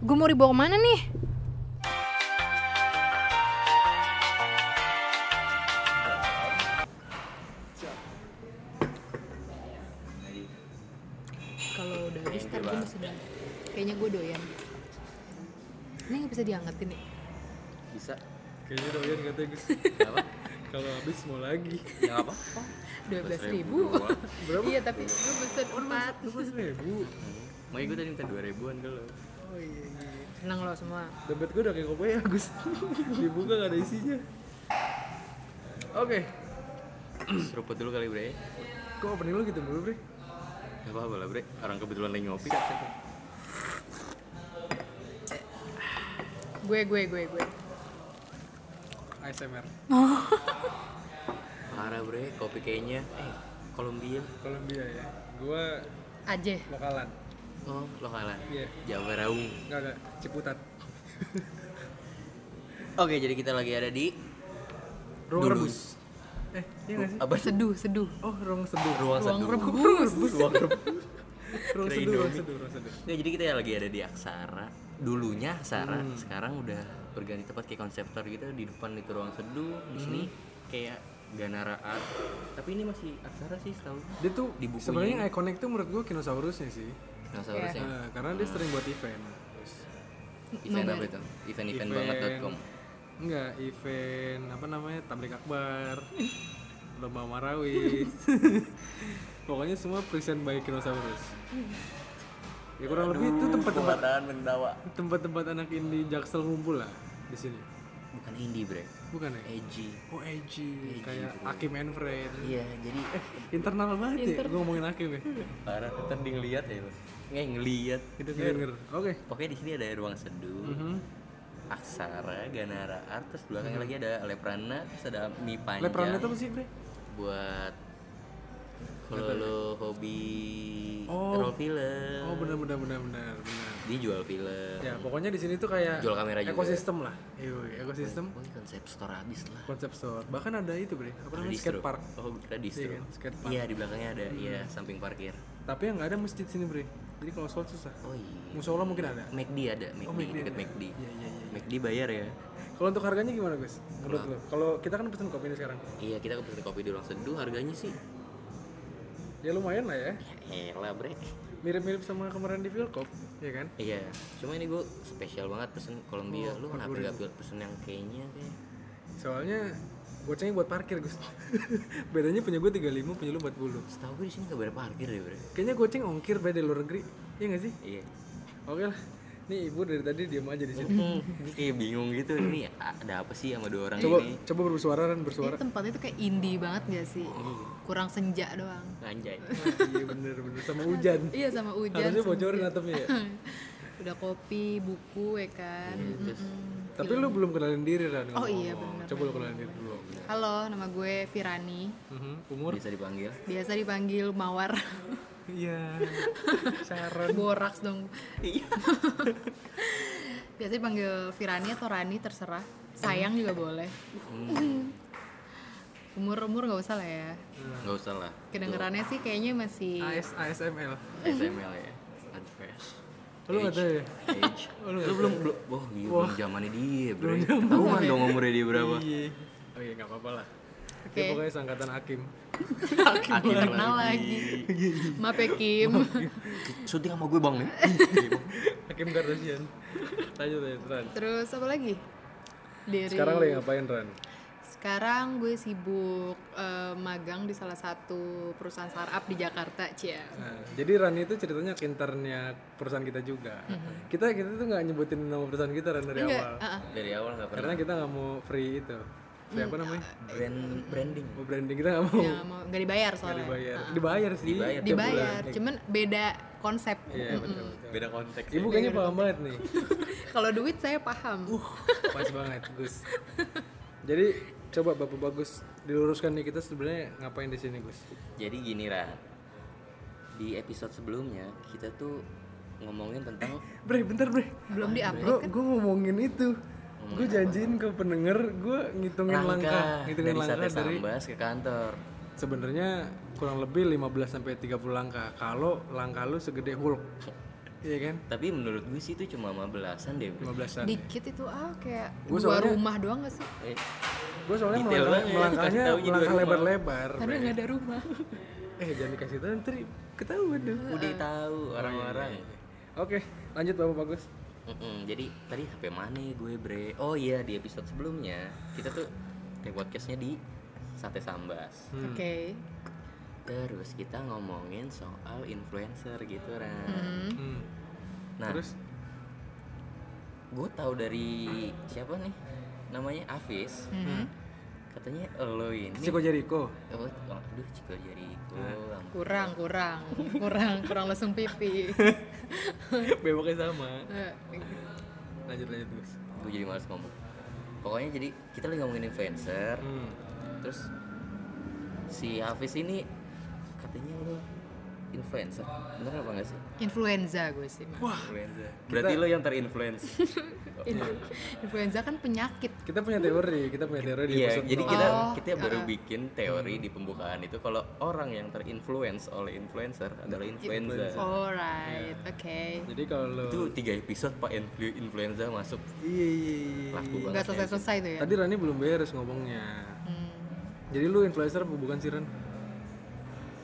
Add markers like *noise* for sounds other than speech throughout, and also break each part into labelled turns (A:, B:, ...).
A: Gue Eh, mau dibawa kemana nih? Kalau udah habis ntar gue mesti balik. Kayaknya gue doyan. Ini nggak bisa diangkatin nih.
B: bisa
C: Kayaknya doyan katanya Gus.
B: apa
C: Kalau habis mau lagi.
B: yang apa
A: Dua belas ribu.
B: 12.000 doang.
C: Berapa?
A: Iya tapi gue pesen empat.
C: Dua belas ribu.
B: mau ikut tadi minta dua ribuan kalau
C: Oh iya. iya.
A: Senang lo semua.
C: Dompet gue udah kayak kopi ya Gus. *laughs* Dibuka gak ada isinya. Oke.
B: *clears throat* seruput dulu kali bre
C: Kok opening lu gitu dulu, Bre?
B: gak apa apa lah bre orang kebetulan lagi ngopi katanya
A: Gue gue gue gue.
C: ASMR.
B: parah bre kopi kayaknya eh Kolombia
C: Kolombia ya. Gua
A: Aje.
C: lokalan.
B: oh lokalan
C: Iya.
B: Jawa Raung
C: Enggak ada Ciputat.
B: oke jadi kita lagi ada di
C: Ruang
B: Dulu.
C: rebus. Eh, iya gak sih?
B: apa sih
A: Seduh seduh.
C: Oh, ruang seduh.
A: Ruang
B: ruang seduh
A: rebus.
B: ruang rebus
C: Ruang
B: Kirain
C: seduh, ruang
B: Indomie.
C: seduh, ruang seduh.
B: Nggak, Ya, jadi kita lagi ada di Aksara dulunya Aksara
C: Hmm.
B: sekarang udah berganti tempat kayak konseptor gitu di depan itu ruang seduh di sini
C: Hmm.
B: kayak Ganara Art tapi ini masih Aksara sih setahu
C: Dia tuh
B: Di bukunya
C: sebenarnya ikonik tuh menurut gua kinosaurusnya sih.
B: nah seharusnya
C: Eh, karena dia sering buat event. Terus,
B: event apa itu event Iya. event banget.com
C: Enggak, event apa namanya? Tablik
B: *laughs*
C: Akbar. Lomba Marawi. Pokoknya semua present by Kinosaurus. Ya kurang lebih itu tempat-tempat
B: tahan mentawa
C: tempat-tempat anak indie Jaksel ngumpul lah di sini.
B: bukan indie bre
C: Bukan ya?
B: edgy
C: Oh, AG, kayak Akim and Friend.
B: iya Hmm. jadi
C: Internal banget ya, gua ngomongin Akim ya.
B: parah ntar dia ngeliat ya lu nggak ngeliat gitu
C: Denger, denger. Oke.
B: pokoknya di sini ada ruang seduh
C: Mhm.
B: Aksara, Ganara Art, terus belakangnya lagi ada Leprana, terus ada Mi Panjang
C: Leperan itu apa sih, Bre?
B: Eh. buat kalau lo hobi
C: Oh.
B: roll film,
C: Oh, benar benar benar benar benar.
B: dia jual film.
C: Ya, pokoknya di sini tuh kayak
B: Jual kamera juga. ya?
C: ekosistem lah. Iya, ekosistem
B: Pokoknya konsep store abis lah.
C: konsep store. Bahkan ada itu, Bre. Apa namanya?
B: Distro.
C: Skate park.
B: Oh, ada
C: Iya
B: distro.
C: kan? Skate park. Hmm.
B: Iya, di belakangnya ada, iya, samping parkir.
C: Tapi yang nggak ada masjid sini, Bre. Jadi kalau sholat susah.
B: Oh iya.
C: Musola mungkin ada.
B: McD ada, McD, deket McD.
C: Iya, iya, iya.
B: McD bayar ya.
C: Kalau untuk harganya gimana, Gus? Menurut lu? Kalau kita kan pesen kopi ini sekarang.
B: Iya, kita kebetulan kopi di ruang seduh, harganya sih
C: Ya lumayan lah ya.
B: ya elah bre.
C: Mirip-mirip sama kemarin di Vilkop, ya kan?
B: Iya, cuma ini gue spesial banget pesen Kolombia. Lu
C: Oh,
B: kenapa gak pesen yang kayaknya kayak
C: Soalnya gocengnya buat parkir, Gus. *laughs* Bedanya punya gue 35, punya lu 40.
B: Setahu gue di sini gak bayar parkir deh bre.
C: Kayaknya goceng ongkir Bre, dari luar negeri. Iya nggak sih?
B: Iya.
C: Oke lah. Nih ibu dari tadi diam aja di sini.
B: Hmm, gue *laughs* kayak bingung gitu ini ada apa sih sama dua orang
C: Coba
B: ini
C: coba bersuara dan bersuara.
A: Ini tempatnya tuh kayak indie banget gak sih? Kurang senja doang.
B: anjay
C: iya bener bener sama hujan.
A: Iya sama hujan.
C: *laughs* Harusnya bocorin atapnya ya.
A: *laughs* Udah kopi, buku ya kan.
B: terus
C: Tapi lu belum kenalin diri Ran.
A: Iya. Oh, iya,
C: ngomong-ngomong.
A: bener.
C: Coba lu kenalin diri dulu.
A: Halo, nama gue Virani.
C: Mhm, Umur?
B: bisa dipanggil
A: Biasa dipanggil Mawar.
C: Iya. Saran.
A: *laughs* Boraks dong. *laughs* Biasa dipanggil Virani atau Rani terserah. Sayang juga boleh. Umur umur nggak usah lah ya.
C: Hmm.
B: nggak usah lah
A: Kedengerannya sih kayaknya masih
C: AS ASML.
B: SML ya Unfresh
C: Lu nggak ya? tahu ya?
B: Age Lu belum belum Wah gila belum zamannya dia bre Ketahuan dong umurnya dia berapa
C: Iya. Oh iya nggak apa-apa lah.
A: Oke.
C: Dia
A: *laughs*
C: pokoknya sangkatan hakim. *laughs*
B: Aki
A: kenal lagi. Maaf ya Kim.
B: Syuting sama gue bang ya
C: Hakim
A: *laughs*
C: Kardashian. Lanjut lanjut Ran.
A: Terus apa lagi? Dari
C: Sekarang lagi ngapain Ran?
A: Sekarang gue sibuk eh, magang di salah satu perusahaan startup di Jakarta, Cia.
C: Nah, jadi Ran itu ceritanya kinternya perusahaan kita juga.
A: Mhm.
C: Kita kita tuh nggak nyebutin nama perusahaan kita Ran dari awal,
A: Ah, ah.
B: dari awal nggak pernah
C: karena kita nggak mau free itu. Free apa namanya?
B: brand branding
C: Mau branding kita Oh. nggak mau
A: Ya, mau nggak dibayar soalnya.
C: dibayar. Dibayar sih.
B: Dibayar.
C: tiap bulan.
A: Dibayar, cuman beda konsep.
C: Iya betul. betul.
B: beda konteks
C: Ibu kayaknya paham banget nih.
A: *laughs* Kalau duit saya paham.
C: Uh, Pas banget Gus. Jadi coba Bapak Bagus diluruskan nih kita sebenarnya ngapain di sini Gus?
B: Jadi gini Ra Di episode sebelumnya kita tuh ngomongin tentang
C: Bre, bentar Bre.
A: Belum di-upload.
C: Bro, gue ngomongin itu. Gue janjiin ke pendengar, gue ngitungin langkah,
B: Hmm, langkah
C: ngitungin
B: dari
C: langkah
B: sate
C: dari
B: sambas ke kantor
C: Sebenarnya kurang lebih 15 sampai 30 langkah. Kalau langkah lu segede Hulk. Iya kan?
B: Tapi menurut gue sih itu cuma 15-an deh. Bro.
C: 15-an.
A: Dikit itu ah kayak
C: Gua
A: dua
C: soalnya-
A: rumah doang gak sih?
B: Eh,
C: Gue soalnya
B: Detail
C: melangkah,
B: banget ya,
C: melangkahnya
B: kasih tahu juga
C: melangkah
B: gua mau.
C: lebar-lebar.
A: Padahal
C: Bre.
A: nggak ada rumah.
C: Eh jangan dikasih tahu nanti ketahuan dong.
B: udah tahu
C: Oh, iya,
B: orang-orang.
C: Oke, lanjut Bapak Bagus.
B: Mm-mm, jadi tadi HP mana gue bre? Oh iya di episode sebelumnya kita tuh teh podcastnya di sate sambas.
C: Hmm.
A: Oke.
B: Terus kita ngomongin soal influencer gitu kan.
A: Hmm.
C: Hmm.
B: Nah,
C: Terus
B: gue tahu dari siapa nih? Namanya Afis.
A: Mhm.
B: Katanya lo ini.
C: Ciko Jericho.
B: Oh, aduh Ciko Jericho. ampun.
A: Kurang, kurang, kurang, kurang lesung
C: *laughs*
A: pipi.
C: *laughs* Beboknya sama.
A: Eh,
C: Lanjut lanjut Gus.
B: Gue jadi males ngomong. Pokoknya jadi kita lagi ngomongin influencer.
C: Hmm.
B: Terus si Hafiz ini katanya lo influencer, bener apa enggak sih?
A: Influenza gue sih. Mas.
B: Influencer. Berarti lo yang
C: *laughs*
B: terinfluence.
C: Iya.
A: Influ- Influenza kan penyakit.
C: Kita punya teori, kita punya teori di
B: Iya,
C: episode Ah.
B: jadi
C: nol.
B: kita
A: Oh,
B: kita baru bikin
C: Hmm.
B: teori di pembukaan itu kalau orang yang terinfluence oleh influencer adalah
C: Oh.
B: influenza.
A: Alright, oke.
C: Jadi kalau
B: Itu tiga episode pak influ influenza masuk
C: iya iya iya.
B: laku
A: Nggak
B: banget.
A: selesai selesai tuh ya.
C: gitu. Tadi Rani belum beres ngomongnya.
A: Hmm.
C: Jadi lu influencer apa bukan sih Ren?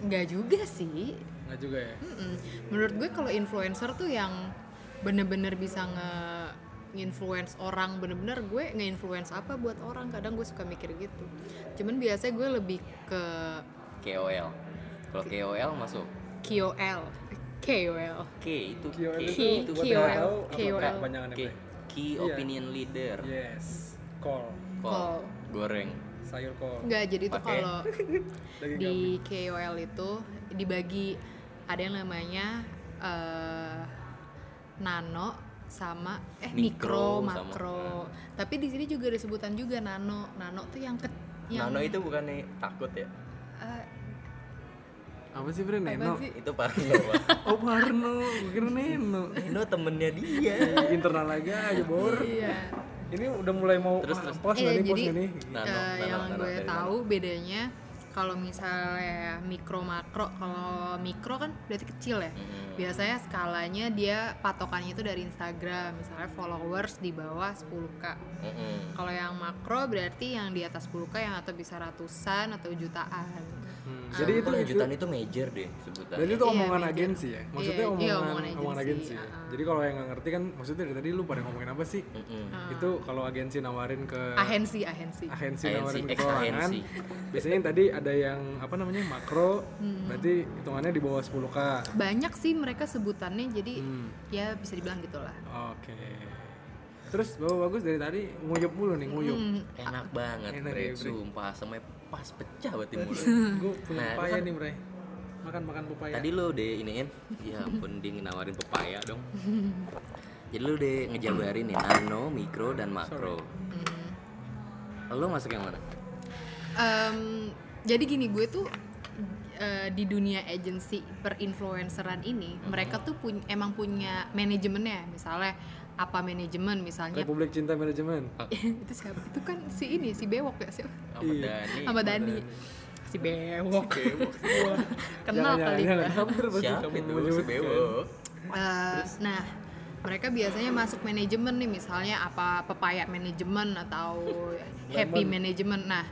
A: Nggak juga sih.
C: Nggak juga ya?
A: Mm-mm. Menurut gue kalau influencer tuh yang bener-bener bisa nge influence orang bener-bener gue nge-influence apa buat orang kadang gue suka mikir gitu cuman biasanya gue lebih ke
B: KOL. Kalau KOL masuk
A: KOL KOL
B: K itu K
C: KOL
A: K-
B: itu
C: itu buat
A: KOL.
C: tahu apa
A: KOL.
C: kepanjangannya
B: K
C: apa ya?
B: key
C: Iya.
B: opinion leader.
C: Yes, call,
A: Call.
B: Call. Goreng.
C: sayur call.
A: nggak jadi tuh
B: Pakai. *laughs*
A: kalau
C: Daging
A: di KOL itu dibagi ada yang namanya eh, nano sama eh mikro,
B: Mikro sama- eh.
A: makro tapi di sini juga ada sebutan juga nano nano tuh yang ke yang
B: Nano itu bukannya takut ya?
A: eh,
C: Apa sih Ren?
A: apa
C: Neno?
A: sih?
B: Itu Parno.
C: *laughs*
B: Pak.
C: Oh Parno, gue kira Neno.
B: Nino temennya dia.
C: Internal aja aja bor.
A: Iya.
C: Ini udah mulai mau
B: Terus,
C: ah,
B: terus.
C: pos
A: Iya,
C: nggak nih, pos
A: jadi-
C: nggak nih.
B: Nano,
A: Eh,
B: nano,
A: yang
B: nano,
A: gue
B: dari
A: tahu bedanya kalau misalnya mikro makro kalau mikro kan berarti kecil ya
B: Mm-mm.
A: biasanya skalanya dia patokannya itu dari Instagram misalnya followers di bawah 10k
B: mana. Mm-mm.
A: kalau yang makro berarti yang di atas 10k yang atau bisa ratusan atau jutaan
C: Hmm, Jadi itu
B: Kalau
C: itu
B: jutaan itu major deh sebutan.
C: Berarti itu
A: Iya,
C: omongan
A: major.
C: agensi ya? Maksudnya
A: Iya, iya,
C: omongan,
A: omongan
C: omongan,
A: agensi, Ah.
C: agensi. ya? Jadi kalau yang nggak ngerti kan, maksudnya dari tadi lu pada ngomongin apa sih?
B: Mm-mm.
C: Itu kalau agensi nawarin ke
A: ahensi ahensi
C: agensi
B: Agensi,
C: nawarin ke
B: ex-agensi.
C: keuangan, biasanya yang tadi ada yang apa namanya makro,
A: Hmm.
C: berarti hitungannya di bawah 10 k.
A: banyak sih mereka sebutannya jadi
C: Hmm.
A: ya bisa dibilang gitulah
C: Oke. Terus bapak bagus dari tadi nguyup mulu nih nguyup.
A: Hmm.
B: Enak banget,
C: Enak
B: Bre.
C: ya, Bre.
B: Sumpah, sampai pas pecah berarti mulut.
C: Gue punya
B: Nah, itu
C: pepaya
B: kan-
C: nih Bray. Makan makan pepaya.
B: Tadi lo deh iniin. Ya ampun, dia nawarin pepaya dong. Jadi lo deh ngejabarin nih nano, mikro dan makro.
A: Hmm.
B: Lo masuk yang mana?
A: Em, jadi gini gue tuh eh, di dunia agensi perinfluenceran ini
C: Hmm.
A: mereka tuh punya emang punya manajemennya misalnya apa manajemen misalnya
C: Republik Cinta Manajemen.
A: *laughs* itu siapa itu kan si ini si bewok ya siapa
B: Ahmad
C: Iya.
B: Dhani.
A: sama Dani si bewok kenal
C: Jangan-jangan,
A: kali
C: jangan.
A: gua.
C: Hampir pasti
B: Siapa Ya,
C: kamu
B: itu? Si
C: menyebutkan.
B: bewok.
A: Eh, nah mereka biasanya masuk manajemen nih misalnya apa pepaya manajemen atau happy manajemen nah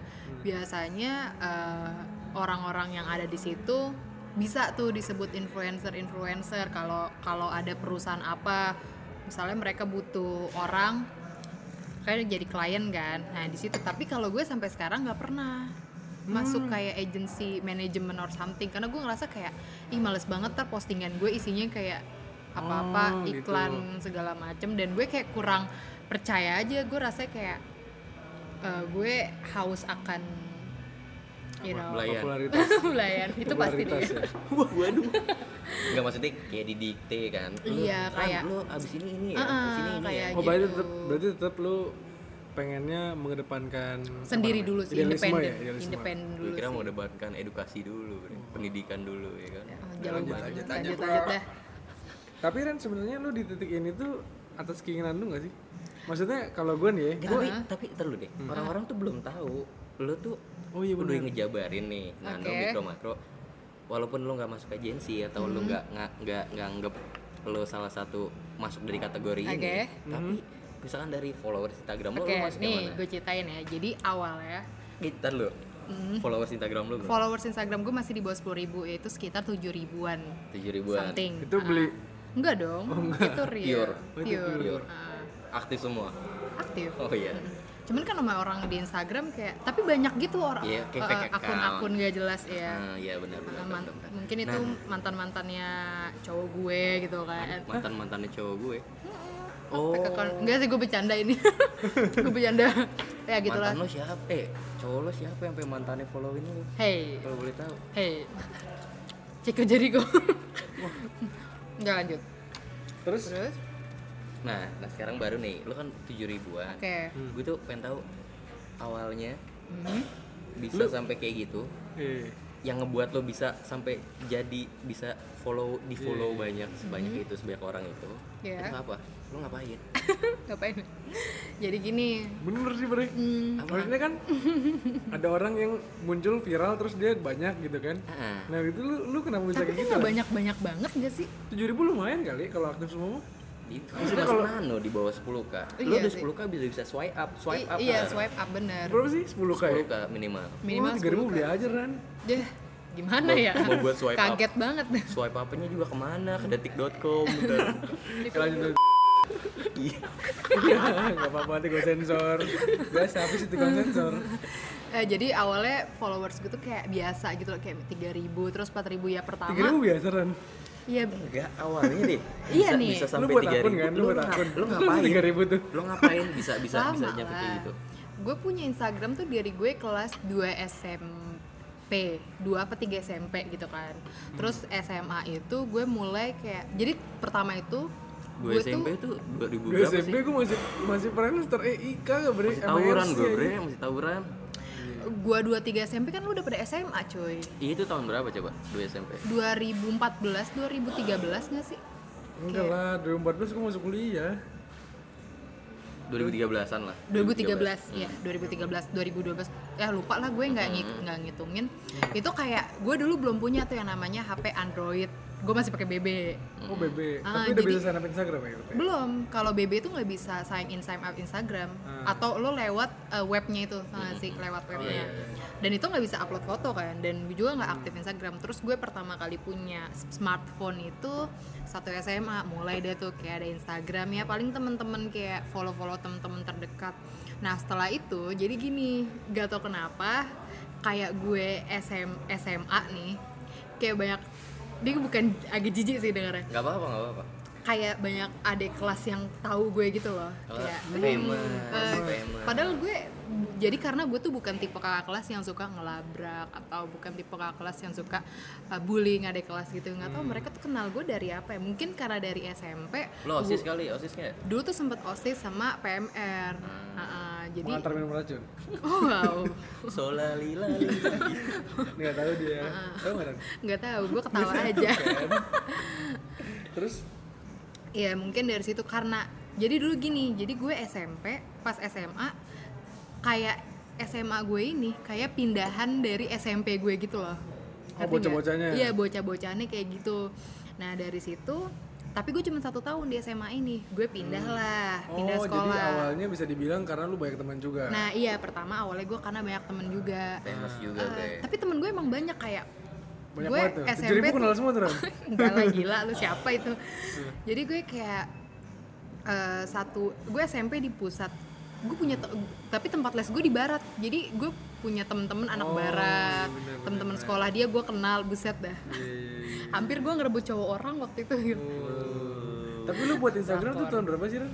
A: biasanya eh, orang-orang yang ada di situ bisa tuh disebut influencer influencer kalau kalau ada perusahaan apa misalnya mereka butuh orang kayak jadi klien kan nah di situ tapi kalau gue sampai sekarang nggak pernah masuk
C: Hmm.
A: kayak agency management or something karena gue ngerasa kayak ih males banget ter postingan gue isinya kayak apa-apa
C: Oh, gitu.
A: iklan segala macem dan gue kayak kurang percaya aja gue rasanya kayak eh, gue haus akan you know *laughs*
B: Belayan.
C: Popularitas.
A: belayan itu pasti
C: popularitas
A: dia
C: ya.
B: Waduh. Enggak maksudnya kayak didikte kan. Lu,
A: Iya,
B: Ran,
A: kayak-
B: lu abis ini ini ya,
A: Ah,
B: abis ini ini
A: kayak
B: ya.
A: gitu.
C: Oh, berarti tetap, berarti tetap lu pengennya mengedepankan apa
A: sendiri
C: namanya?
A: dulu sih
C: Idealisme
A: independen
C: ya, idealisme.
A: independen
B: Gue
A: dulu
B: kira
A: sih.
B: mau debatkan edukasi dulu, Bre. pendidikan dulu ya kan.
A: Oh, jauh
C: Lanjut,
A: banget
C: lanjut,
A: lanjut
C: lanjut.
A: lanjut, dah
C: Tapi Ren sebenarnya lu di titik ini tuh atas keinginan lu gak sih? Maksudnya kalau gue nih ya,
B: Nggak,
C: gua-
B: tapi tapi ntar lu deh. Orang-orang tuh belum tahu lu tuh
C: Oh iya
B: udah
C: bener.
B: ngejabarin nih Nah, nano
A: Oke.
B: ya,
A: Hmm.
B: mikro makro. Walaupun lu nggak masuk agensi atau lu nggak nggak nggak nganggep lo salah satu masuk dari kategori ini ya.
A: Oke. Hmm.
B: tapi misalkan dari followers Instagram lo,
A: Oke,
B: lo masuk yang
A: nih
B: mana?
A: gue ceritain ya. Jadi awalnya
B: Gitar lo
A: Hmm.
B: followers Instagram lo berapa?
A: followers Instagram gue masih di bawah sepuluh ribu, yaitu sekitar tujuh ribuan
B: tujuh ribuan
A: something.
C: Itu beli-
A: Ah, enggak dong, itu real,
B: Pure.
C: Oh, itu
A: Pure.
B: pure.
A: Ah,
B: aktif semua
A: aktif.
B: oh iya
A: Cuman kan sama orang di Instagram kayak, tapi banyak gitu orang
B: Iya, kayak
A: eh,
B: fake account.
A: akun-akun gak jelas ya.
B: Ah, iya benar benar,
A: Man-
B: benar, benar.
A: mungkin itu
C: Nah.
A: mantan mantannya cowok gue gitu kan
B: mantan mantannya cowok gue
A: oh. enggak sih gue bercanda
B: *laughs*
A: ini gue bercanda ya gitulah
B: mantan lo siapa eh cowok lo siapa yang pengen mantannya followin lo
A: hey
B: kalau boleh tahu
A: hey Ciko Jericho nggak lanjut
C: Terus
A: terus
B: nah nah sekarang baru nih lo kan tujuh ribuan
A: oke
B: gue tuh pengen tahu awalnya
A: Mhm.
B: bisa sampai kayak gitu
C: eh
B: yang ngebuat lo bisa sampai jadi bisa follow di follow banyak sebanyak itu sebanyak orang itu
A: Hmm. Iya.
B: itu apa lo ngapain
A: *laughs* ngapain jadi gini
C: bener sih bre.
A: hmm,
C: Maksudnya kan ada orang yang muncul viral terus dia banyak gitu kan.
B: Ah.
C: Nah itu lu, lu kenapa bisa
A: tapi
C: kayak
A: kan
C: gitu?
A: nggak banyak banyak banget gak sih
C: Tujuh ribu lumayan kali ya kalau aktif semua. mah.
B: Di- Maksudnya kalau nano di bawah 10 k, lo
A: Iya
B: udah
A: sih.
B: 10 k bisa bisa swipe up, swipe
A: I-
B: up,
A: iya
B: kan?
A: swipe up bener
C: Berapa sih? Sepuluh k. ya?
B: 10 k minimal.
A: minimal
C: tiga ribu
A: 10K.
C: beli aja kan.
A: Yah, gimana ya
B: mau buat swipe up.
A: kaget banget *laughs*
B: Swipe upnya juga kemana? Ke detik.com, bentar.
C: lanjut
B: Iya.
C: Iya, nggak apa-apa nanti gue sensor. Biasa habis itu gue sensor.
A: Eh, jadi awalnya followers gue tuh kayak biasa gitu loh, kayak 3000 terus 4000 ya
C: Tiga ribu
A: pertama.
C: biasa kan.
A: Iya.
B: Enggak awalnya deh. Bisa,
A: Iya nih.
B: Bisa
C: Lu
B: sampai
C: buat
B: 3000.
C: akun kan? Lu buat
B: ngap-
C: akun.
B: Lu
C: Terus
B: ngapain?
C: 3000 tuh.
B: Lu ngapain bisa bisa bisa
A: Sama
B: nyampe kayak
A: lah.
B: gitu?
A: Gue punya Instagram tuh dari gue kelas 2 SMP, 2 apa 3 SMP gitu kan.
B: Hmm.
A: Terus SMA itu gue mulai kayak jadi pertama itu
B: Gue SMP tuh 2000
C: Gue
B: berapa
C: SMP
B: sih?
C: gue masih masih pernah E ntar EIK gak bre?
B: Masih tawuran
C: MRC.
B: gue, Bre, masih tawuran.
A: gue 2 3 SMP kan lu udah pada SMA, cuy.
B: Iya, itu tahun berapa coba? 2 SMP.
A: 2014, 2013 gak sih?
C: Enggak lah, 2014 gue masuk kuliah.
B: 2013-an lah.
A: 2013 ya 2013 2012 ya lupa lah gue nggak ngik- nggak ngitungin itu kayak gue dulu belum punya tuh yang namanya HP Android gue masih pakai BB
C: Oh BB,
A: Ah,
C: tapi udah
A: jadi-
C: bisa sign up Instagram ya? katanya?
A: belum kalau BB itu nggak bisa sign in sign up Instagram atau lo lewat eh, webnya itu tau nggak sih lewat webnya dan itu nggak bisa upload foto kan dan gue juga nggak aktif Instagram terus gue pertama kali punya s- smartphone itu satu SMA mulai deh tuh kayak ada Instagram ya paling temen-temen kayak follow follow temen-temen terdekat nah setelah itu jadi gini gak tau kenapa kayak gue SM, SMA nih kayak banyak dia bukan agak jijik sih dengarnya
B: Enggak apa-apa, enggak apa-apa.
A: kayak banyak adik kelas yang tahu gue gitu loh
B: Oh,
A: kayak
B: famous,
A: eh,
B: famous.
A: padahal gue bu- jadi karena gue tuh bukan tipe kakak kelas yang suka ngelabrak atau bukan tipe kakak kelas yang suka eh, bullying adik kelas gitu nggak
B: Hmm.
A: tahu mereka tuh kenal gue dari apa ya mungkin karena dari SMP
B: Lo OSIS kali, OSIS nggak?
A: dulu tuh sempet osis sama PMR
B: Hmm.
A: Ah, ah, jadi
C: Mengantar minum racun?
A: *laughs* oh, wow
B: Solalila.
C: Nggak tahu dia.
A: Ah.
C: Tahu nggak? Dan?
A: nggak tahu gue ketawa aja
C: Terus?
A: Iya mungkin dari situ karena jadi dulu gini, jadi gue SMP pas SMA kayak SMA gue ini kayak pindahan dari SMP gue gitu loh.
C: Oh,
A: Ngerti nggak?
C: bocah-bocahnya ya?
A: Iya bocah-bocahnya kayak gitu. Nah dari situ tapi gue cuma satu tahun di SMA ini, gue pindah lah, pindah
C: Hmm. oh
A: sekolah.
C: jadi awalnya bisa dibilang karena lu banyak teman juga.
A: Nah iya pertama awalnya gue karena banyak temen juga.
B: Famous juga,
A: Eh,
B: Bre.
A: tapi temen gue emang banyak kayak
C: banyak
A: gue
C: banget tuh. Tujuh
A: SMP
C: ribu
A: tuh-
C: kenal semua tuh. Dan.
A: *laughs* enggak lah gila lu siapa itu jadi gue kayak eh, satu gue SMP di pusat gue punya te- tapi tempat les gue di barat jadi gue punya temen-temen anak
C: Oh,
A: barat
C: iya, bener,
A: temen-temen sekolah dia gue kenal buset dah
C: Iya, iya, iya.
A: hampir gue ngerebut cowok orang waktu itu gitu.
C: Oh. Tapi lu buat Instagram tuh tahun berapa sih Ren?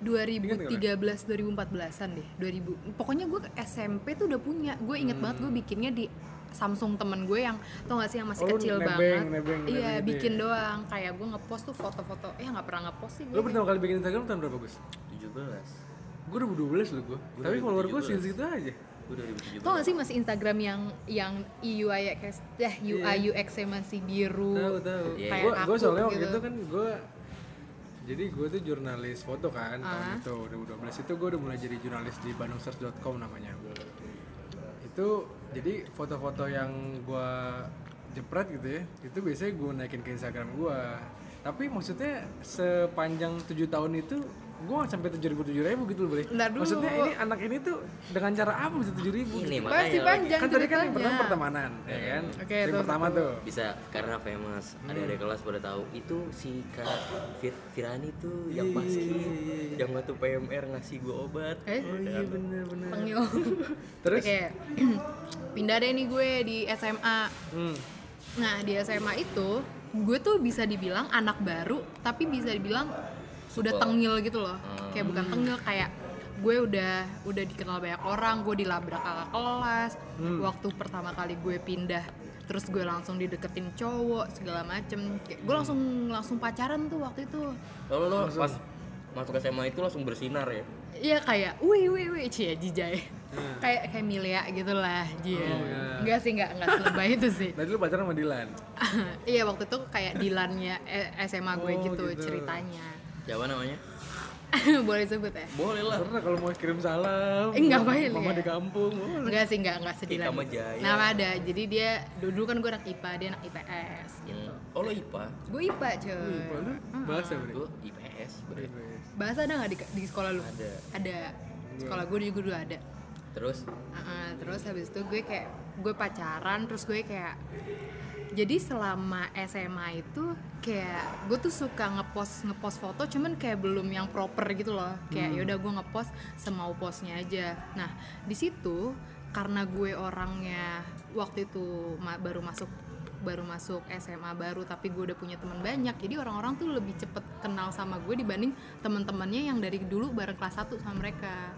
A: 2013 2014an deh 2000 pokoknya gue SMP tuh udah punya gue inget banget gue bikinnya di Samsung temen gue yang tau gak sih yang masih
C: Hmm. Oh, lu
A: kecil
C: nebeng,
A: banget
C: nebeng, nebeng
A: iya
C: gitu ya?
A: bikin doang kayak gue ngepost tuh foto-foto ya nggak pernah ngepost sih gue
C: Lu pertama kali bikin Instagram tahun berapa Gus?
B: 17.
C: Gue 2012 lu gue. Tapi follower gue segitu aja.
B: Gue
C: gitu?
B: 2017.
A: Tau gak sih masih Instagram yang yang E UI UX ya UI UX -nya masih biru.
C: Iya. Tahu tahu.
B: Iya,
A: Kayak
C: Gue gue
A: kaku
C: soalnya waktu
A: gitu.
C: itu kan gue jadi gue tuh jurnalis foto kan
A: Ah.
C: tahun itu 2012 itu gue udah mulai jadi jurnalis di bandungsearch.com namanya itu jadi foto-foto yang gue jepret gitu ya itu biasanya gue naikin ke Instagram gue Tapi maksudnya sepanjang 7 tahun itu gue nggak sampai tujuh ribu tujuh ribu gitu loh boleh.
A: Ntar dulu.
C: Maksudnya ini anak ini tuh dengan cara apa bisa tujuh ribu?
B: Ini
C: Gitu?
A: Pasti
B: makanya lagi.
A: panjang
C: Kan tadi kan yang pertama
A: ceritanya.
C: pertemanan, ya kan?
A: Oke,
C: yang
A: tuh,
C: pertama tuh.
B: bisa karena famous
C: Hmm.
B: ada ada kelas pada tahu itu si kak Fir Firani tuh
C: Iya,
B: yang pasti yang waktu PMR ngasih gue obat
A: Eh?
B: Oh, iya, bener.
A: *laughs* Pengiung.
C: Terus?
A: Oke. *clears throat* Pindah deh nih gue di SMA.
C: Hmm.
A: Nah, di SMA itu gue tuh bisa dibilang anak baru, tapi bisa dibilang udah tengil gitu loh. Kayak bukan tengil kayak gue udah udah dikenal banyak orang, gue dilabrak kakak kelas. Waktu pertama kali gue pindah, terus gue langsung dideketin cowok segala macem. Kayak gue langsung langsung pacaran tuh waktu itu.
B: lalu lo pas masuk SMA itu langsung bersinar ya
A: Iya kayak, wih wih wih, cie jijai. kayak kayak Milia gitu lah, Jia. Enggak sih, enggak enggak selebay itu sih.
C: Tadi lu pacaran sama Dilan.
A: *laughs* iya waktu itu kayak Dilannya eh, SMA gue
C: Oh,
A: gitu,
C: gitu.
A: ceritanya. *laughs*
B: siapa namanya
A: Boleh sebut ya?
B: boleh lah
C: Karena kalau mau kirim salam.
A: Eh, nggak boleh,
C: Mama
A: ya.
C: di kampung. Oh, boleh.
A: Enggak sih, enggak enggak sedih
B: Kita
A: lagi.
B: mah jaya.
A: Nama ada. Jadi dia dulu kan gue anak IPA, dia anak IPS gitu.
B: oh lo IPA
A: Gue IPA, cuy.
C: Lu ya, bahasa
B: gue
C: berarti.
B: IPS
C: Iya,
B: bre.
A: Bahasa ada nggak di, di sekolah lu?
B: Ada.
A: Ada. Sekolah gue juga dulu ada.
B: terus
A: Heeh, terus habis itu gue kayak gue pacaran terus gue kayak jadi selama SMA itu kayak gue tuh suka ngepost ngepost foto cuman kayak belum yang proper gitu loh kayak yaudah gue ngepost semau postnya aja nah di situ karena gue orangnya waktu itu ma- baru masuk baru masuk SMA baru tapi gue udah punya teman banyak jadi orang-orang tuh lebih cepet kenal sama gue dibanding teman-temannya yang dari dulu bareng kelas 1 sama mereka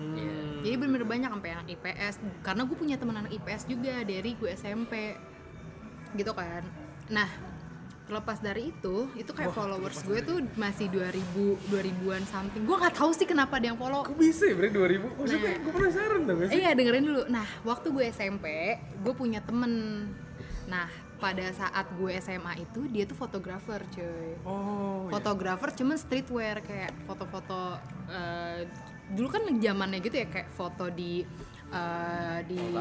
A: jadi bener-bener banyak sampai anak IPS karena gue punya teman anak IPS juga dari gue SMP gitu kan. Nah terlepas dari itu itu kayak followers gue tuh masih 2000 2000-an something. Gue nggak tahu sih kenapa ada yang follow.
C: Kok bisa ya bre 2000? Maksudnya gue penasaran dong
A: Iya. Eh, Iya dengerin dulu. Nah waktu gue SMP gue punya temen. Nah pada saat gue SMA itu dia tuh fotografer cuy.
C: Oh, iya.
A: fotografer cuman streetwear kayak foto-foto eh, dulu kan zamannya gitu ya kayak foto di eh, di *laughs*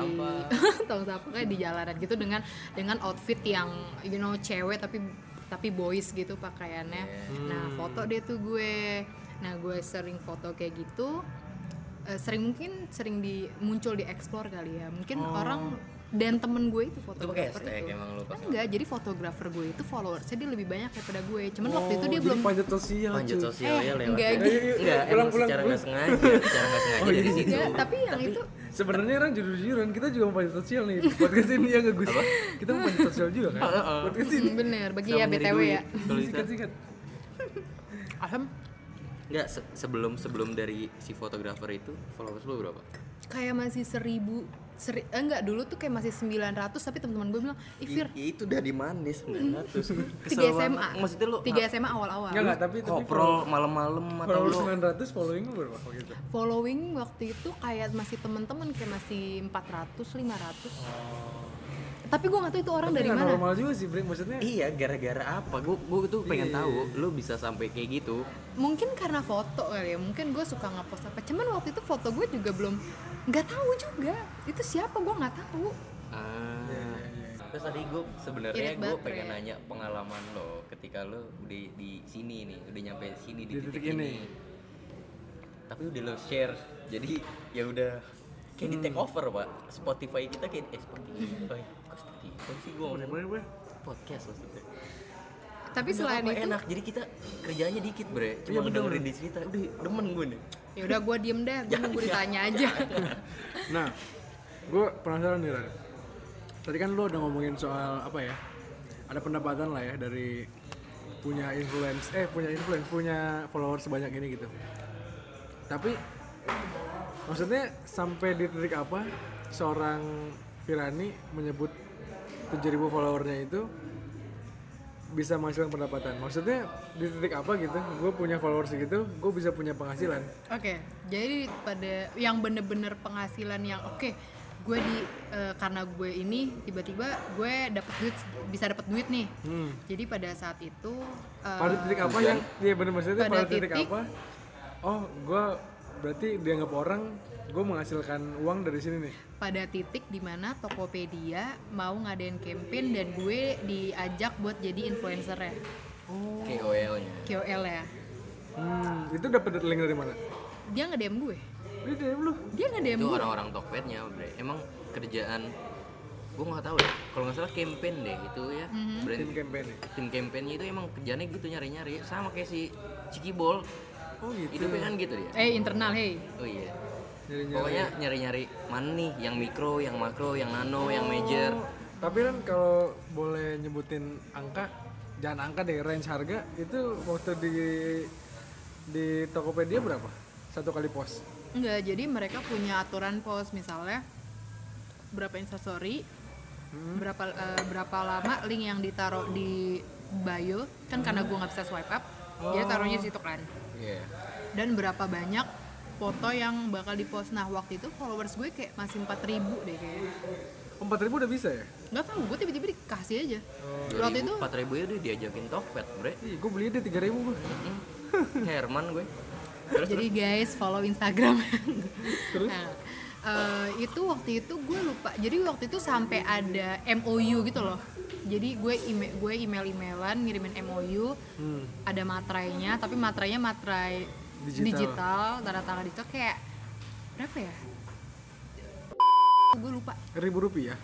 A: tong sampah kayak di jalanan gitu dengan dengan outfit yang you know cewek tapi tapi boys gitu pakaiannya. Nah, foto deh tuh gue. Nah, gue sering foto kayak gitu. Eh, sering mungkin sering di muncul di explore kali ya. Mungkin orang dan temen gue itu
B: itu pakai
A: fotografer
B: hashtag
A: itu.
B: emang lo pas
A: Enggak, jadi fotografer gue itu followersnya dia lebih banyak daripada gue. Cuman
C: Oh,
A: waktu itu dia
C: jadi
A: belum
C: panjat sosial.
B: lanjut
C: Ya, cuy.
A: Eh,
B: sosialnya lewat
A: enggak
B: ya.
A: gitu.
B: enggak
C: Pulang,
B: emang
C: pulang, Oh, iya.
B: secara nggak
C: pulang.
B: sengaja secara nggak sengaja dari situ
A: enggak, tapi yang itu
C: Sebenarnya orang jujur-jujuran kita juga mau panjat sosial nih. *laughs* Podcast ini ya nggak Gus? Kita mau panjat sosial juga kan? Podcast ini
A: Hmm, bener bagi ya BTW ya.
B: Kalau Lisa,
C: sikat-sikat.
A: Alham
B: enggak se- sebelum sebelum dari si fotografer itu followers lo berapa
A: kayak masih seribu seri, eh, enggak dulu tuh kayak masih 900 tapi teman-teman gue bilang, "Ih, Fir,
B: I- Iya, ya itu dari manis 900
A: tiga SMA."
B: maksudnya lo
A: tiga SMA awal-awal.
C: Enggak enggak, tapi tapi
B: koprol malam-malam atau
C: kalau
B: lo
C: 900 following lu berapa gitu?
A: Following waktu itu kayak masih teman-teman kayak masih 400, 500. Tapi gue gak tahu itu orang dari
C: Oh. Nggak
A: mana.
C: normal juga sih, Bre. Maksudnya
B: iya gara-gara apa gue gue tuh pengen tahu lo bisa sampai kayak gitu
A: mungkin karena foto kali ya mungkin gue suka ngepost apa cuman waktu itu foto gue juga belum nggak tahu juga itu siapa gue nggak tahu
B: Ah. Terus tadi gue sebenarnya
A: Irit
B: gue
A: banget,
B: pengen
A: Fred.
B: nanya pengalaman lo ketika lo udah di sini nih, udah nyampe sini di,
C: Di
B: titik,
C: titik
B: ini.
C: ini.
B: Tapi udah lo share, jadi ya udah kayak di take over pak. Spotify kita kayak eh, Spotify, kok Spotify sih gue ngomong
C: Gimana, Bre?
B: podcast maksudnya.
A: tapi selain itu
B: Nggak apa-apa, enak, jadi kita kerjanya dikit bre, cuma dengerin di cerita, udah demen gue nih.
A: ya udah gue diem deh
B: *laughs*
A: gue nunggu
B: Iya.
A: ditanya aja *laughs*
C: Nah, gue penasaran nih Ran. Tadi kan lo udah ngomongin soal apa ya? Ada pendapatan lah ya dari punya influence, eh punya influence, punya follower sebanyak ini gitu. Tapi maksudnya sampai di titik apa seorang Firani menyebut 7000 followernya itu bisa menghasilkan pendapatan. Maksudnya di titik apa gitu? Gue punya followers segitu, gue bisa punya penghasilan.
A: oke jadi pada yang bener-bener penghasilan yang oke gue di eh, karena gue ini tiba-tiba gue dapet duit bisa dapet duit nih
C: Hmm.
A: jadi pada saat itu eh,
C: pada titik apa yang dia benar maksudnya
A: pada
C: pada titik,
A: titik-
C: apa oh gue berarti dianggap orang gue menghasilkan uang dari sini nih
A: pada titik dimana Tokopedia mau ngadain campaign dan gue diajak buat jadi influencer ya.
B: KOL-nya.
A: KOL ya
C: Hmm, itu dapat link dari mana?
A: dia nge DM gue
C: Ini dari lu.
A: dia nge DM
B: Itu
A: gue
B: orang-orang Tokpednya, bre. Emang kerjaan gue nggak tahu deh. Kalau nggak salah campaign deh itu ya. Brand
C: Tim campaign ya?
B: tim campaignnya itu emang kerjanya gitu nyari-nyari sama kayak si Cikibol
C: Oh
B: itu
C: gitu.
B: pengen gitu dia
A: eh internal hey
B: oh iya
C: Nyari-nyari.
B: pokoknya nyari-nyari mana nih yang mikro yang makro yang nano yang major
C: Tapi kan kalau boleh nyebutin angka, jangan angka deh, range harga itu waktu di di Tokopedia berapa? Satu kali post.
A: Enggak, jadi mereka punya aturan pos misalnya berapa instastory,
B: Hmm.
A: berapa eh, berapa lama link yang ditaruh di bio kan karena gue nggak bisa swipe up,
B: Oh.
A: dia taruhnya di situ kan.
B: iya
A: Dan berapa banyak foto yang bakal dipost. Nah waktu itu followers gue kayak masih 4000 deh kayaknya.
C: 4000 udah bisa ya?
A: Nggak tahu, gue tiba-tiba dikasih
B: Oh,
A: aja. Waktu itu
B: 2000 4000 ya udah diajakin Tokped bre
C: Ih, gue beli deh 3000 gue.
B: Mm. Herman gue terus
A: Jadi guys follow Instagram. Nah, eh, itu waktu itu gue lupa. Jadi waktu itu sampai ada MOU gitu loh. Jadi gue email gue email emailan ngirimin MOU.
C: Hmm.
A: Ada materainya, tapi materainya materai
C: Digital.
A: digital, tanda tangan itu kayak berapa ya? Gue lupa.
C: Ribu rupiah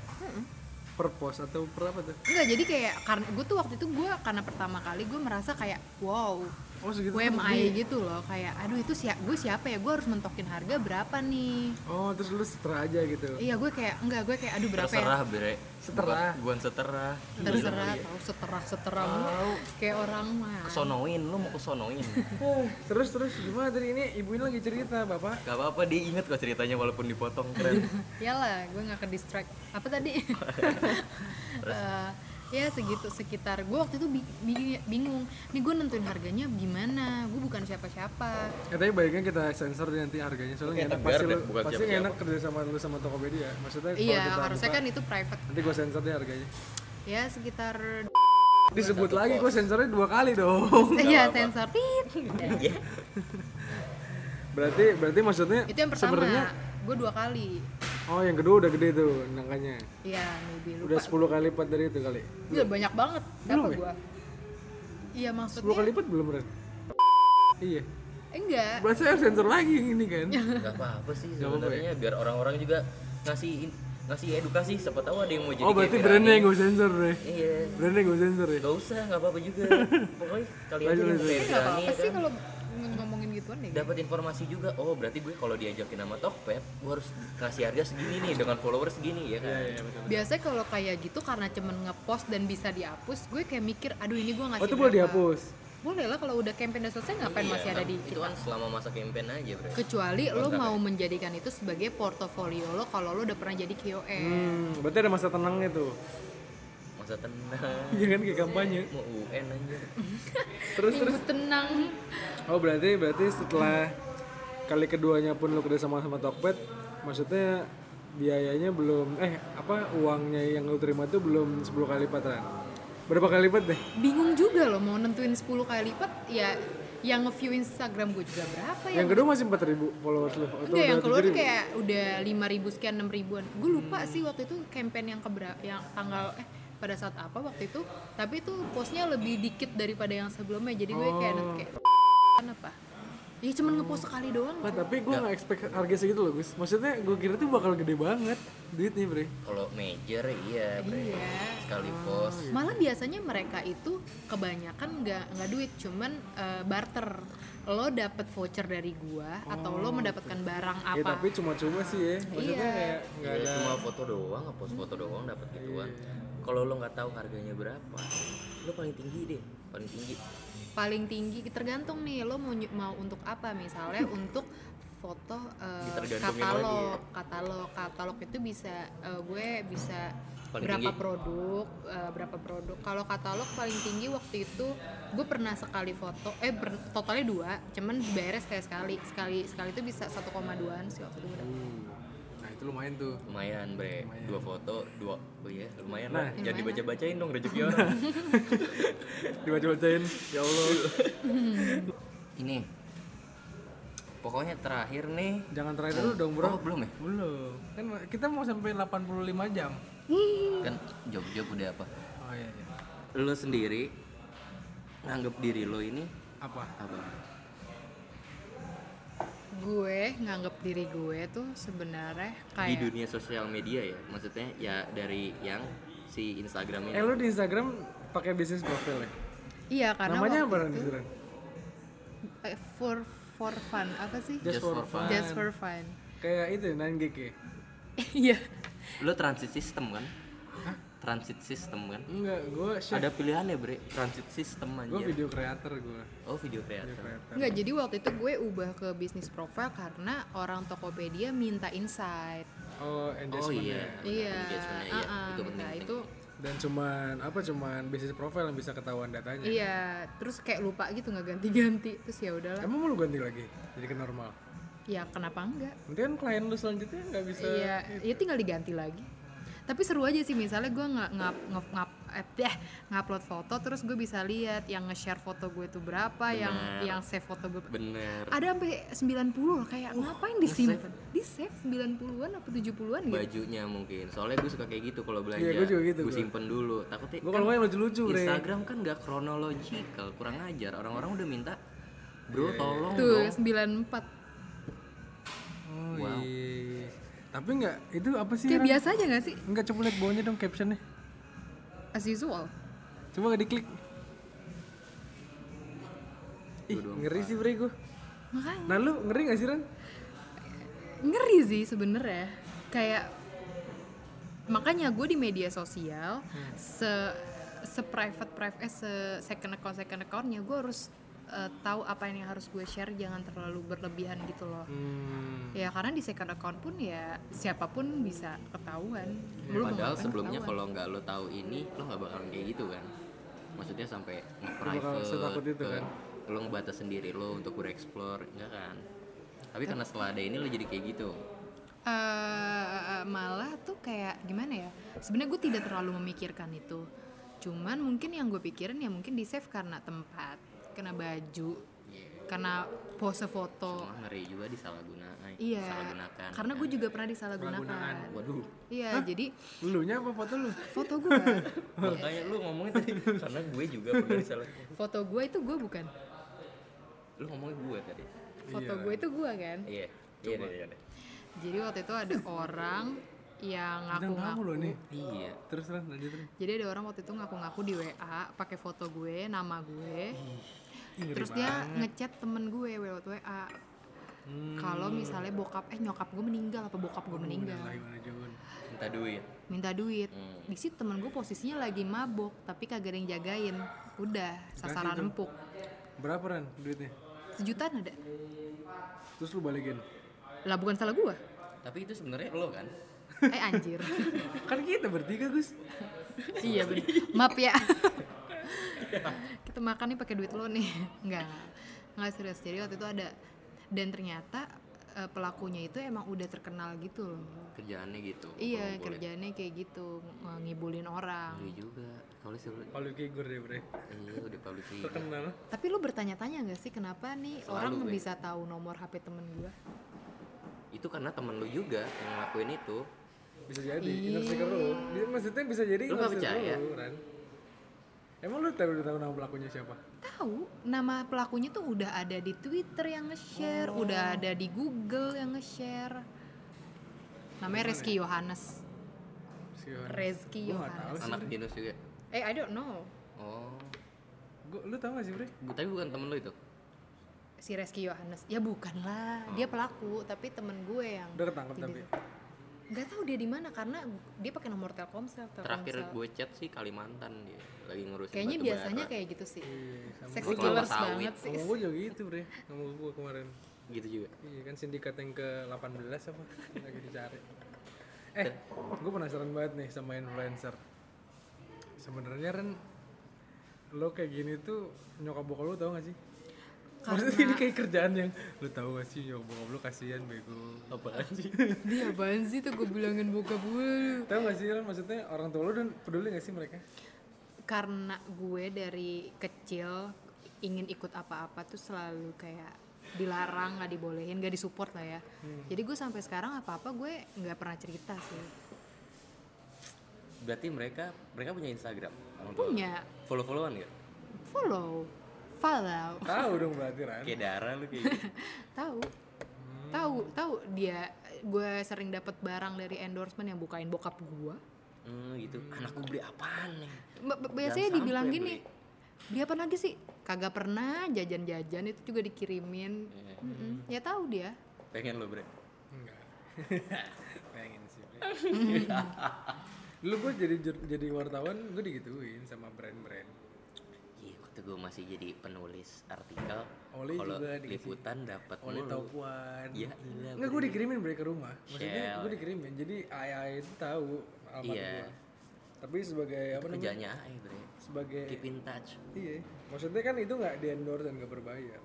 C: per post atau per apa tuh?
A: Enggak, jadi kayak karena gue tuh waktu itu gue karena pertama kali gue merasa kayak wow
C: Oh segitu. tuh
A: WMI
C: gede.
A: gitu loh kayak aduh itu siap gue siapa ya gue harus mentokin harga berapa nih
C: Oh terus lu setra aja gitu.
A: iya gue kayak enggak gue kayak aduh berapa ya
B: terserah bre
C: Seterah.
B: Bukan- bukan seterah
A: terserah tau seterah seterah mulu. kayak orang mah
B: kesonoin lu mau kesonoin
C: Eh, terus terus gimana tadi ini ibu ini lagi cerita bapak?
B: gak apa-apa dia inget kok ceritanya walaupun dipotong keren
A: Yalah, gue nggak ke distract. Apa tadi? Eh, ya segitu sekitar. Gue waktu itu bi- bi- bingung. Nih gue nentuin harganya gimana? Gue bukan siapa-siapa.
C: Katanya baiknya kita sensor deh nanti harganya soalnya
B: Oke,
C: nggak enak
B: tegar
C: pasti
B: deh,
C: lu
B: bukan
C: pasti
B: siapa-siapa.
C: nggak enak kerja sama lu sama Tokopedia. Maksudnya kalau
A: Iya,
C: kita
A: harusnya
C: buka,
A: kan itu private.
C: nanti gue sensor deh harganya.
A: Ya sekitar.
C: Disebut lagi gue sensornya dua kali dong. *laughs*
A: Iya, sensor. Tit.
B: Iya.
C: berarti berarti maksudnya
A: itu yang pertama.
C: sebenarnya
A: Gue dua kali.
C: oh yang kedua udah gede tuh angkanya.
A: Iya, maybe lupa.
C: Udah 10 kali lipat dari itu kali.
A: Gila, Iya, banyak banget.
C: Belum
A: Siapa
C: ya?
A: gua? Iya,
C: 10
A: maksudnya
C: kali lipat belum Ren? Iya.
A: enggak.
C: Berarti saya sensor lagi yang ini kan.
B: *laughs*
A: Iya.
B: Gak apa-apa ya? sih sebenarnya biar orang-orang juga ngasih ngasih edukasi siapa tahu ada yang mau jadi
C: oh berarti
B: kayak
C: brandnya yang gue sensor deh.
B: Ferani. iya
C: Brandnya gue sensor ya.
B: gak usah nggak apa-apa juga pokoknya kalian aja yang kayak
A: Nggak
B: Ferani
A: Iya, apa-apa sih
B: kan
A: kalau ng- ngomongin gitu gituan deh.
B: dapat informasi juga oh berarti gue kalau diajakin sama Tokped gue harus kasih harga segini nih dengan followers segini ya kan
A: Biasanya kalau kayak gitu karena cuman ngepost dan bisa dihapus, gue kayak mikir, aduh ini gue ngasih
C: Oh itu boleh
A: berapa?
C: dihapus.
A: Boleh lah kalau udah campaign udah selesai ngapain
B: Iya,
A: masih ada di
B: itu kan selama masa campaign aja bro
A: Kecuali lo mau menjadikan itu sebagai portofolio lo kalau lo udah pernah jadi KOL.
C: Hmm, berarti ada masa tenangnya *laughs* tuh.
B: masa tenang
C: Iya kan kayak kampanye.
B: mau UN aja
C: Terus
A: Minggu tenang.
C: oh berarti berarti setelah kali keduanya pun lu kerja sama sama Tokped, maksudnya biayanya belum eh apa uangnya yang lu terima tuh belum 10 kali lipat Ran? Berapa kali lipat deh?
A: Bingung juga lo mau nentuin 10 kali lipat ya yang nge-view Instagram gue juga berapa ya?
C: Yang kedua masih 4000 followers lu atau
A: Enggak, ya. yang
C: udah
A: keluar tuh
C: 7.000?
A: kayak udah 5000 sekian 6000-an. Gue lupa sih waktu itu campaign yang kebra yang tanggal eh pada saat apa waktu itu, tapi itu postnya lebih dikit daripada yang sebelumnya. Jadi gue kayak nanti kayak kenapa? Ya cuman ngepost sekali doang.
C: Wah, tapi gue nggak expect harga segitu loh Gus. Maksudnya gue kira tuh bakal gede banget duitnya bre.
B: kalau major iya bro
A: Iya.
B: sekali post
A: Malah biasanya mereka itu kebanyakan nggak nggak duit, cuman eh, barter. Lo dapet voucher dari gua atau lo mendapatkan barang apa?
C: Ya Oh, tapi cuma-cuma sih ya. Maksudnya kayak nggak
B: Iya,
C: ada. Iya,
B: cuma foto doang, ngepost foto doang dapat gituan. Kalau lo nggak tahu harganya berapa, lo paling tinggi deh, paling tinggi.
A: paling tinggi tergantung nih lo mau ny- mau untuk apa
B: *laughs*
A: misalnya untuk foto eh,
B: Ditergantungin ya?
A: katalog katalog katalog itu bisa eh, gue bisa
B: Paling
A: berapa
B: tinggi.
A: produk eh, berapa produk kalau katalog paling tinggi waktu itu gue pernah sekali foto eh ber- totalnya dua cuman dibayarnya sekali sekali sekali sekali itu bisa 1,2an sih waktu itu gue dapet.
C: Hmm. Nah itu lumayan tuh.
B: Lumayan bre, dua foto, dua, oh iya lumayan lah.
C: Nah.
B: Jangan dibaca-bacain dong
C: *laughs*
B: rezeki orang.
C: Dibaca-bacain. Ya Allah.
B: Ini, pokoknya terakhir nih.
C: Jangan terakhir dulu dong bro.
B: Oh belum ya?
C: Belum. Kan kita mau sampai 85 jam.
B: Kan job-job udah apa?
C: Oh iya. iya.
B: Lo sendiri nganggap diri lo ini
C: apa
B: apa?
A: gue nganggep diri gue tuh sebenarnya
B: Di
A: kayak
B: dunia sosial media ya, maksudnya ya dari yang si Instagram ini.
C: eh lu di Instagram pakai bisnis profil ya
A: iya karena
C: namanya
A: waktu
C: apa Ran,
A: itu-
C: Ran?
A: eh, for for fun apa sih
C: just, for fun,
A: just for fun
C: kayak itu 9 gig ya
A: iya
B: Lo transit system kan? Transit system kan?
C: enggak gue chef
B: Ada pilihan ya bre, transit system
C: gue
B: aja.
C: video creator gue
B: Oh video creator.
C: Oh, creator
A: Enggak, jadi waktu itu gue ubah ke bisnis profile karena orang Tokopedia minta insight.
B: Oh
C: oh engagement
B: iya.
C: ya.
B: benar,
C: Uh-uh.
A: Iya,
B: engagementnya, iya,
A: ah-ah,
B: itu
A: minta
B: penting.
A: itu.
C: dan cuman apa cuman bisnis profil yang bisa ketahuan datanya
A: Iya, terus kayak lupa gitu nggak ganti-ganti. Terus ya udahlah.
C: emang mau lu ganti lagi jadi ke normal
A: Ya kenapa enggak?
C: nanti kan klien lu selanjutnya nggak bisa
A: Iya, ya tinggal diganti lagi. Tapi seru aja sih misalnya gue nggak ngap ngap ngap eh, bleh, ngupload foto terus gue bisa lihat yang nge-share foto gue tuh berapa, yang
B: Benar.
A: yang save foto gue.
B: Bener.
C: Ah,
A: Ada sampai 90 loh kayak ngapain disimpan? Di save 90-an apa 70-an gitu.
B: bajunya mungkin soalnya gue suka kayak gitu kalau belanja
C: Iya, gua juga gitu,
B: Gua
C: gua.
B: simpen dulu takutnya kan
C: gue kalau nggak yang lucu-lucu bre
B: Instagram kan nggak kronologikal kurang ajar orang-orang udah minta
C: Iya,
B: bro tolong
A: Tuh,
B: dong
A: 94.
C: oh iya tapi nggak itu apa sih
A: Kayak
C: Ran?
A: biasa aja gak sih?
C: nggak coba lihat bawahnya dong captionnya
A: As usual.
C: coba nggak diklik Ih, ngeri sih bre gue
A: Makanya
C: nah lu ngeri nggak sih Ran?
A: ngeri sih sebenarnya. Kayak makanya gue di media sosial se se private private eh, se second account second accountnya gue harus eh, tahu apa yang harus gue share jangan terlalu berlebihan gitu loh.
C: hmm.
A: Ya karena di second account pun ya siapapun bisa ketahuan. Lu mau
B: Iya, padahal
A: ngapain
B: sebelumnya
A: ketahuan.
B: kalau nggak lo tahu ini lo nggak bakalan kayak gitu kan maksudnya sampai
C: bakal setakut
B: nge-private
C: itu kan?
B: lo ngebatasin diri lo untuk bereksplor enggak kan tapi karena setelah ada ini lo jadi kayak gitu
A: eh malah tuh kayak gimana ya sebenarnya gue tidak terlalu memikirkan itu cuman mungkin yang gue pikirin ya mungkin di save karena tempat karena baju karena pose foto
B: cuma ngeri juga disalahgunakan
A: iya
B: disalahgunakan Kan?
A: karena gue juga pernah disalahgunakan
B: waduh
A: iya jadi
C: lu nya apa foto lu
A: foto gue
B: makanya lu ngomongin tadi karena gue juga pernah disalahgunakan
A: foto gue itu gue bukan
B: lu ngomongin gue tadi
A: foto gue itu gue kan
B: iya iya deh, iya deh.
A: jadi waktu itu ada orang yang
C: Jangan kamu
A: ngaku-ngaku
C: loh nih
B: iya
C: terus Ran lanjut Ran
A: Jadi ada orang waktu itu ngaku-ngaku di WA pakai foto gue, nama gue.
C: ngeri
A: Terus dia ngechat temen gue lewat WA.
C: Hmm.
A: Kalau misalnya bokap eh nyokap gue meninggal apa bokap
C: Oh,
A: gue meninggal,
C: lagi mana Jun
B: minta duit
A: minta duit.
B: Hmm.
A: Di situ temen gue posisinya lagi mabok, tapi kagak ada yang jagain. Udah, sasaran
C: itu.
A: empuk.
C: berapa Ran duitnya
A: Sejutaan ada.
C: terus lu balikin
A: Lah bukan salah
C: *laughs*
A: gue.
B: tapi itu sebenarnya lo kan
A: Eh anjir.
C: kan kita bertiga Gus
A: *laughs* iya bener. Maaf
C: *laughs*
A: ya. *laughs* Kita makan nih pakai duit lo nih. *laughs* Enggak. Enggak serius. Jadi waktu itu ada dan ternyata eh, pelakunya itu emang udah terkenal gitu loh.
B: kerjaannya gitu
A: Iya,
B: ngumpulin.
A: kerjaannya kayak gitu, ng- ngibulin orang.
B: Ngeri juga kalau sebenarnya
C: Palu figur deh bre
B: iya udah public figure
C: terkenal
A: Tapi lu bertanya-tanya gak sih kenapa nih
B: Selalu
A: orang
B: gue.
A: bisa tahu nomor HP temen gua?
B: itu karena temen lu juga yang ngelakuin itu
C: bisa jadi inner circle lu Dia- maksudnya bisa jadi
B: Iya. Lu nggak
C: inner circle
B: percaya?
C: lu, Ran emang lu tahu udah tahu nama pelakunya siapa
A: Tahu, nama pelakunya tuh udah ada di Twitter yang nge-share,
C: Oh.
A: udah ada di Google yang nge-share. Namanya Reski Yohanes.
C: si
A: Reski
C: ya? Gua nggak
A: Yohanes.
C: tahu sih
B: anak Dinus juga
A: Eh, I don't know.
B: oh
C: Gua- lu tahu gak sih bre
B: Bu- tapi bukan temen lu itu
A: si Reski Yohanes ya bukan lah dia pelaku tapi temen gue yang
C: Oh. udah ketangkep tapi
A: nggak tahu dia di mana karena dia pakai nomor Telkomsel
B: terakhir
A: Telkomsel
B: gue chat sih Kalimantan dia lagi ngurusin
A: kayaknya
B: batu
A: biasanya
B: bara.
A: kayak gitu sih
C: Iya, sama
A: seksi
B: Gua
A: killers
B: kelapa
A: banget sih
C: ngomong gue juga gitu bre ngomong gue kemarin
B: gitu juga
C: iya kan sindikat yang ke 18 apa lagi dicari eh gue penasaran banget nih sama influencer sebenarnya Ren lo kayak gini tuh nyokap bokap lo tau gak sih Maksudnya ini kayak kerjaan yang lo tau gak sih nyokap bokap lo kasihan bego
B: apaan sih
A: dia apaan sih tuh gue bilangin buka gue
C: Tahu gak sih Ren maksudnya orang tua lo dan peduli gak sih mereka?
A: karena gue dari kecil ingin ikut apa-apa tuh selalu kayak dilarang nggak dibolehin nggak disupport lah ya jadi gue sampai sekarang apa-apa gue nggak pernah cerita sih
B: berarti mereka mereka punya Instagram orang tua
A: punya
B: follow followan ya
A: follow, follow. *laughs*
C: Tahu dong berarti Ran.
B: kayak darah lu kayak gitu.
A: Tahu. Tahu, tahu dia gue sering dapat barang dari endorsement yang bukain bokap gue.
B: *laughs* hmm, gitu anak gue beli apaan nih
A: Ba- ba- biasanya
B: Jangan
A: dibilang
B: sampai
A: gini dia apa lagi sih kagak pernah jajan-jajan itu juga dikirimin
B: Iya.
A: Mm-mm. ya tahu dia
B: pengen lu bre
C: Enggak. *laughs* Pengen sih. Bre. *laughs* Dulu gue jadi jur- jadi wartawan, gue digituin sama brand-brand.
B: iya waktu gue masih jadi penulis artikel
C: Oli
B: kalau
C: juga dikasih.
B: liputan dapat
C: Oleh
B: mulu
C: Taupuan.
B: ya iya
C: Enggak, gue dikirimin bre ke rumah.
B: Shell,
C: Maksudnya gue dikirimin. Jadi AI itu tahu alamat
B: Iya.
C: gue. Tapi sebagai apa namanya?
B: kerjanya ay ya, bre
C: Sebagai
B: keep in touch
C: iya. Maksudnya kan itu nggak di endorse dan nggak berbayar.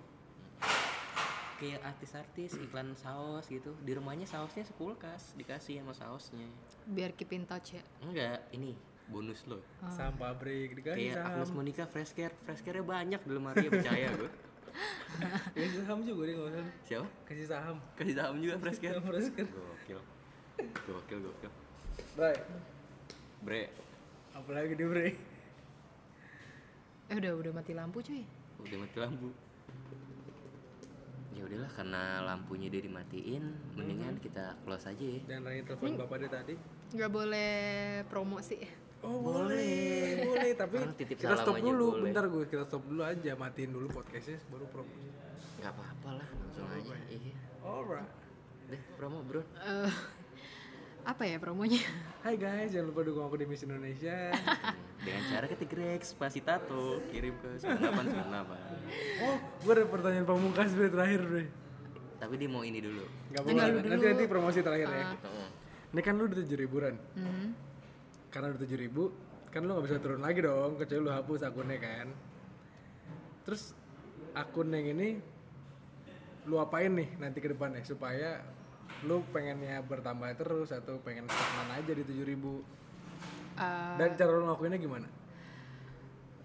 B: kayak artis-artis iklan saus gitu di rumahnya sausnya sekulkas dikasih sama sausnya
A: biar keep in touch ya
B: enggak ini bonus lo
C: Saham pabrik dikasih
B: kayak
C: saham.
B: Agnes Monica fresh care fresh care banyak di lemari percaya gue
C: Ya, saham juga dia nggak usah.
B: siapa
C: Kasih saham.
B: kasih saham juga fresh care
C: Saham terus kan.
B: gokil gokil gokil
C: Bre,
B: bre
C: apalagi nih bre?
A: eh udah udah mati lampu cuy
B: udah mati lampu ya udahlah karena lampunya dia dimatiin mendingan kita close aja ya
C: Dan Rani telepon bapak dia tadi.
A: nggak boleh promosi
C: Oh boleh, boleh. Tapi
B: Orang titip
C: kita
B: salam
C: stop
B: aja
C: dulu,
B: boleh.
C: bentar gue kita stop dulu aja, matiin dulu podcastnya baru promo.
B: nggak apa-apa lah langsung aja iya
C: Alright.
B: deh promo bro
A: Eh, *laughs* apa ya promonya *laughs*
C: Hai guys, jangan lupa dukung aku di Miss
B: *laughs*
C: Indonesia.
B: dengan cara ketik Rex pasti tato kirim ke 9898
C: oh, gue ada pertanyaan pamungkas bre terakhir bre.
B: tapi dia mau ini dulu
C: Gak apa-apa, nanti nanti promosi terakhir ya.
B: Heeh.
C: Ini kan lu udah tujuh ribuan. Karena udah tujuh ribu, kan lu nggak bisa turun lagi dong, kecuali lu hapus akunnya kan. Terus akun yang ini lu apain nih nanti ke depannya supaya lu pengennya bertambah terus atau pengen stagnan aja di tujuh ribu.
A: Eh,
C: Dan cara lu ngelakuinnya gimana?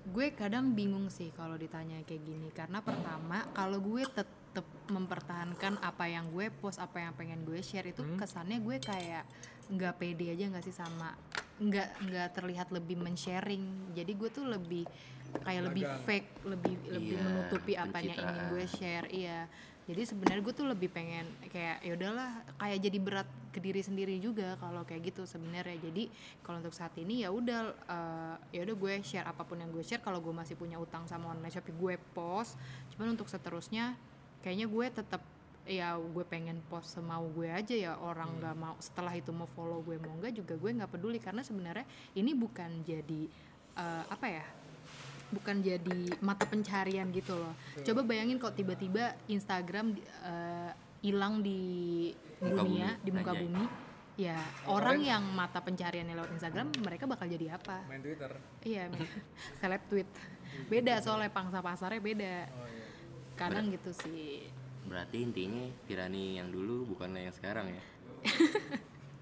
A: gue kadang bingung sih kalau ditanya kayak gini karena pertama kalau gue tetap mempertahankan apa yang gue post apa yang pengen gue share itu kesannya gue kayak nggak pede aja nggak sih sama nggak nggak terlihat lebih men-sharing jadi gue tuh lebih kayak lebih fake lebih lebih
B: Iya,
A: menutupi apa yang ingin gue share iya jadi sebenarnya gue tuh lebih pengen kayak ya udahlah kayak jadi berat ke diri sendiri juga kalau kayak gitu sebenarnya jadi kalau untuk saat ini ya udah eh, ya udah gue share apapun yang gue share kalau gue masih punya utang sama online shop gue post cuman untuk seterusnya kayaknya gue tetap ya gue pengen post semau gue aja ya orang nggak mau setelah itu mau follow gue mau nggak juga gue nggak peduli karena sebenarnya ini bukan jadi eh, apa ya bukan jadi mata pencarian gitu loh. Coba bayangin kalau tiba-tiba Instagram di- eh, hilang di
B: Muka
A: dunia,
B: bumi.
A: di muka
B: Anjay.
A: bumi, ya orang yang mata pencariannya lewat Instagram mereka bakal jadi apa?
C: Main Twitter.
B: *laughs*
A: Iya, men. seleb tweet. Beda soalnya pangsa pasarnya beda.
C: Oh iya.
A: Kadang gitu sih.
B: berarti intinya Pirani yang dulu bukanlah yang sekarang ya *laughs*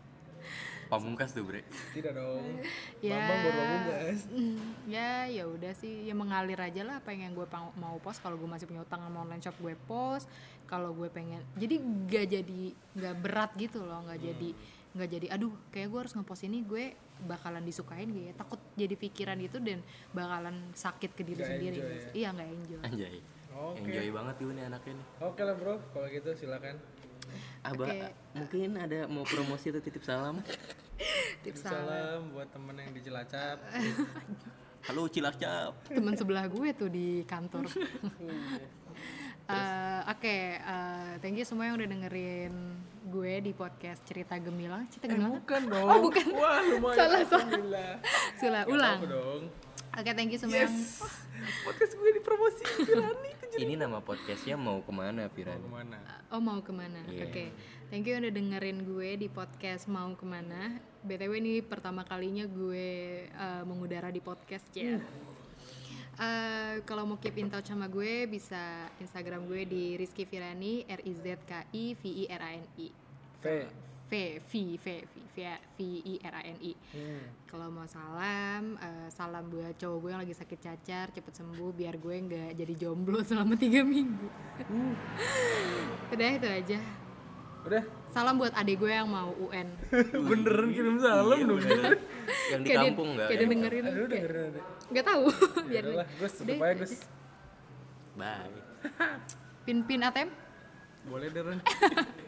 B: pamungkas tuh bre
C: Tidak dong.
A: Ya.
C: Bambang baru pamungkas.
A: Mm, *laughs* ya ya udah sih ya mengalir aja lah apa yang gue pang- mau post kalau gue masih punya utang sama online shop gue post kalau gue pengen jadi nggak jadi nggak berat gitu loh nggak
C: Hmm.
A: jadi nggak jadi aduh kayak gue harus ngepost ini gue bakalan disukain gitu ya takut jadi pikiran itu dan bakalan sakit ke diri
C: Nggak
A: sendiri
C: enjoy ya.
A: gitu. iya nggak enjoy
B: anjay
C: Oke.
B: enjoy banget tuh nih anaknya nih
C: Oke lah bro, kalau gitu silakan.
B: Abah,
A: Oke.
B: mungkin ada mau promosi atau titip salam?
A: tips
C: Salam buat temen yang di Cilacap.
B: Halo Cilacap.
A: teman sebelah gue tuh di kantor.
C: *laughs* Iya.
A: Eh, Oke, eh, thank you semua yang udah dengerin gue di podcast Cerita Gemilang.
C: Eh,
A: Cerita Gemilang?
C: Bukan dong.
A: Oh, bukan.
C: Wah, lumayan.
A: Salah, salah.
C: Alhamdulillah.
A: Sila,
C: Gak
A: ulang.
C: apa-apa
A: Oke,
C: dong.
A: thank you semua yang
C: Podcast gue dipromosi Pirani.
B: Ini nama podcastnya mau kemana Piran?
C: Kemana?
A: Oh mau kemana?
B: Iya.
A: Oke, thank you udah dengerin gue di podcast mau kemana. btw ini pertama kalinya gue eh, mengudara di podcast ya.
C: Hmm.
A: Eh, Kalau mau keep in touch sama gue bisa Instagram gue di Rizky Virani R I Z K I V I R A N I
C: V.
A: V V V V V, V I R A N I.
C: Hmm.
A: Kalau mau salam, eh, salam buat cowok gue yang lagi sakit cacar, cepet sembuh biar gue *laughs*
C: Hmm.
A: nggak jadi jomblo selama tiga minggu. Udah itu aja.
C: Udah,
A: Salam buat adik gue yang mau UN.
C: beneran kirim salam dong.
B: Iya, yang di
A: Kayak dia-
B: kampung nggak
A: Kayak dia
B: yang di
A: dengerin.
C: Aduh,
A: kayak-
C: dengerin adek.
A: Nggak tahu. *laughs*
C: Ya
A: Biar
C: udah lah, Gus, tutup
A: Deh,
C: aja Gus.
B: kampung. bye
A: pin-pin ATM.
C: Boleh deh, Ren.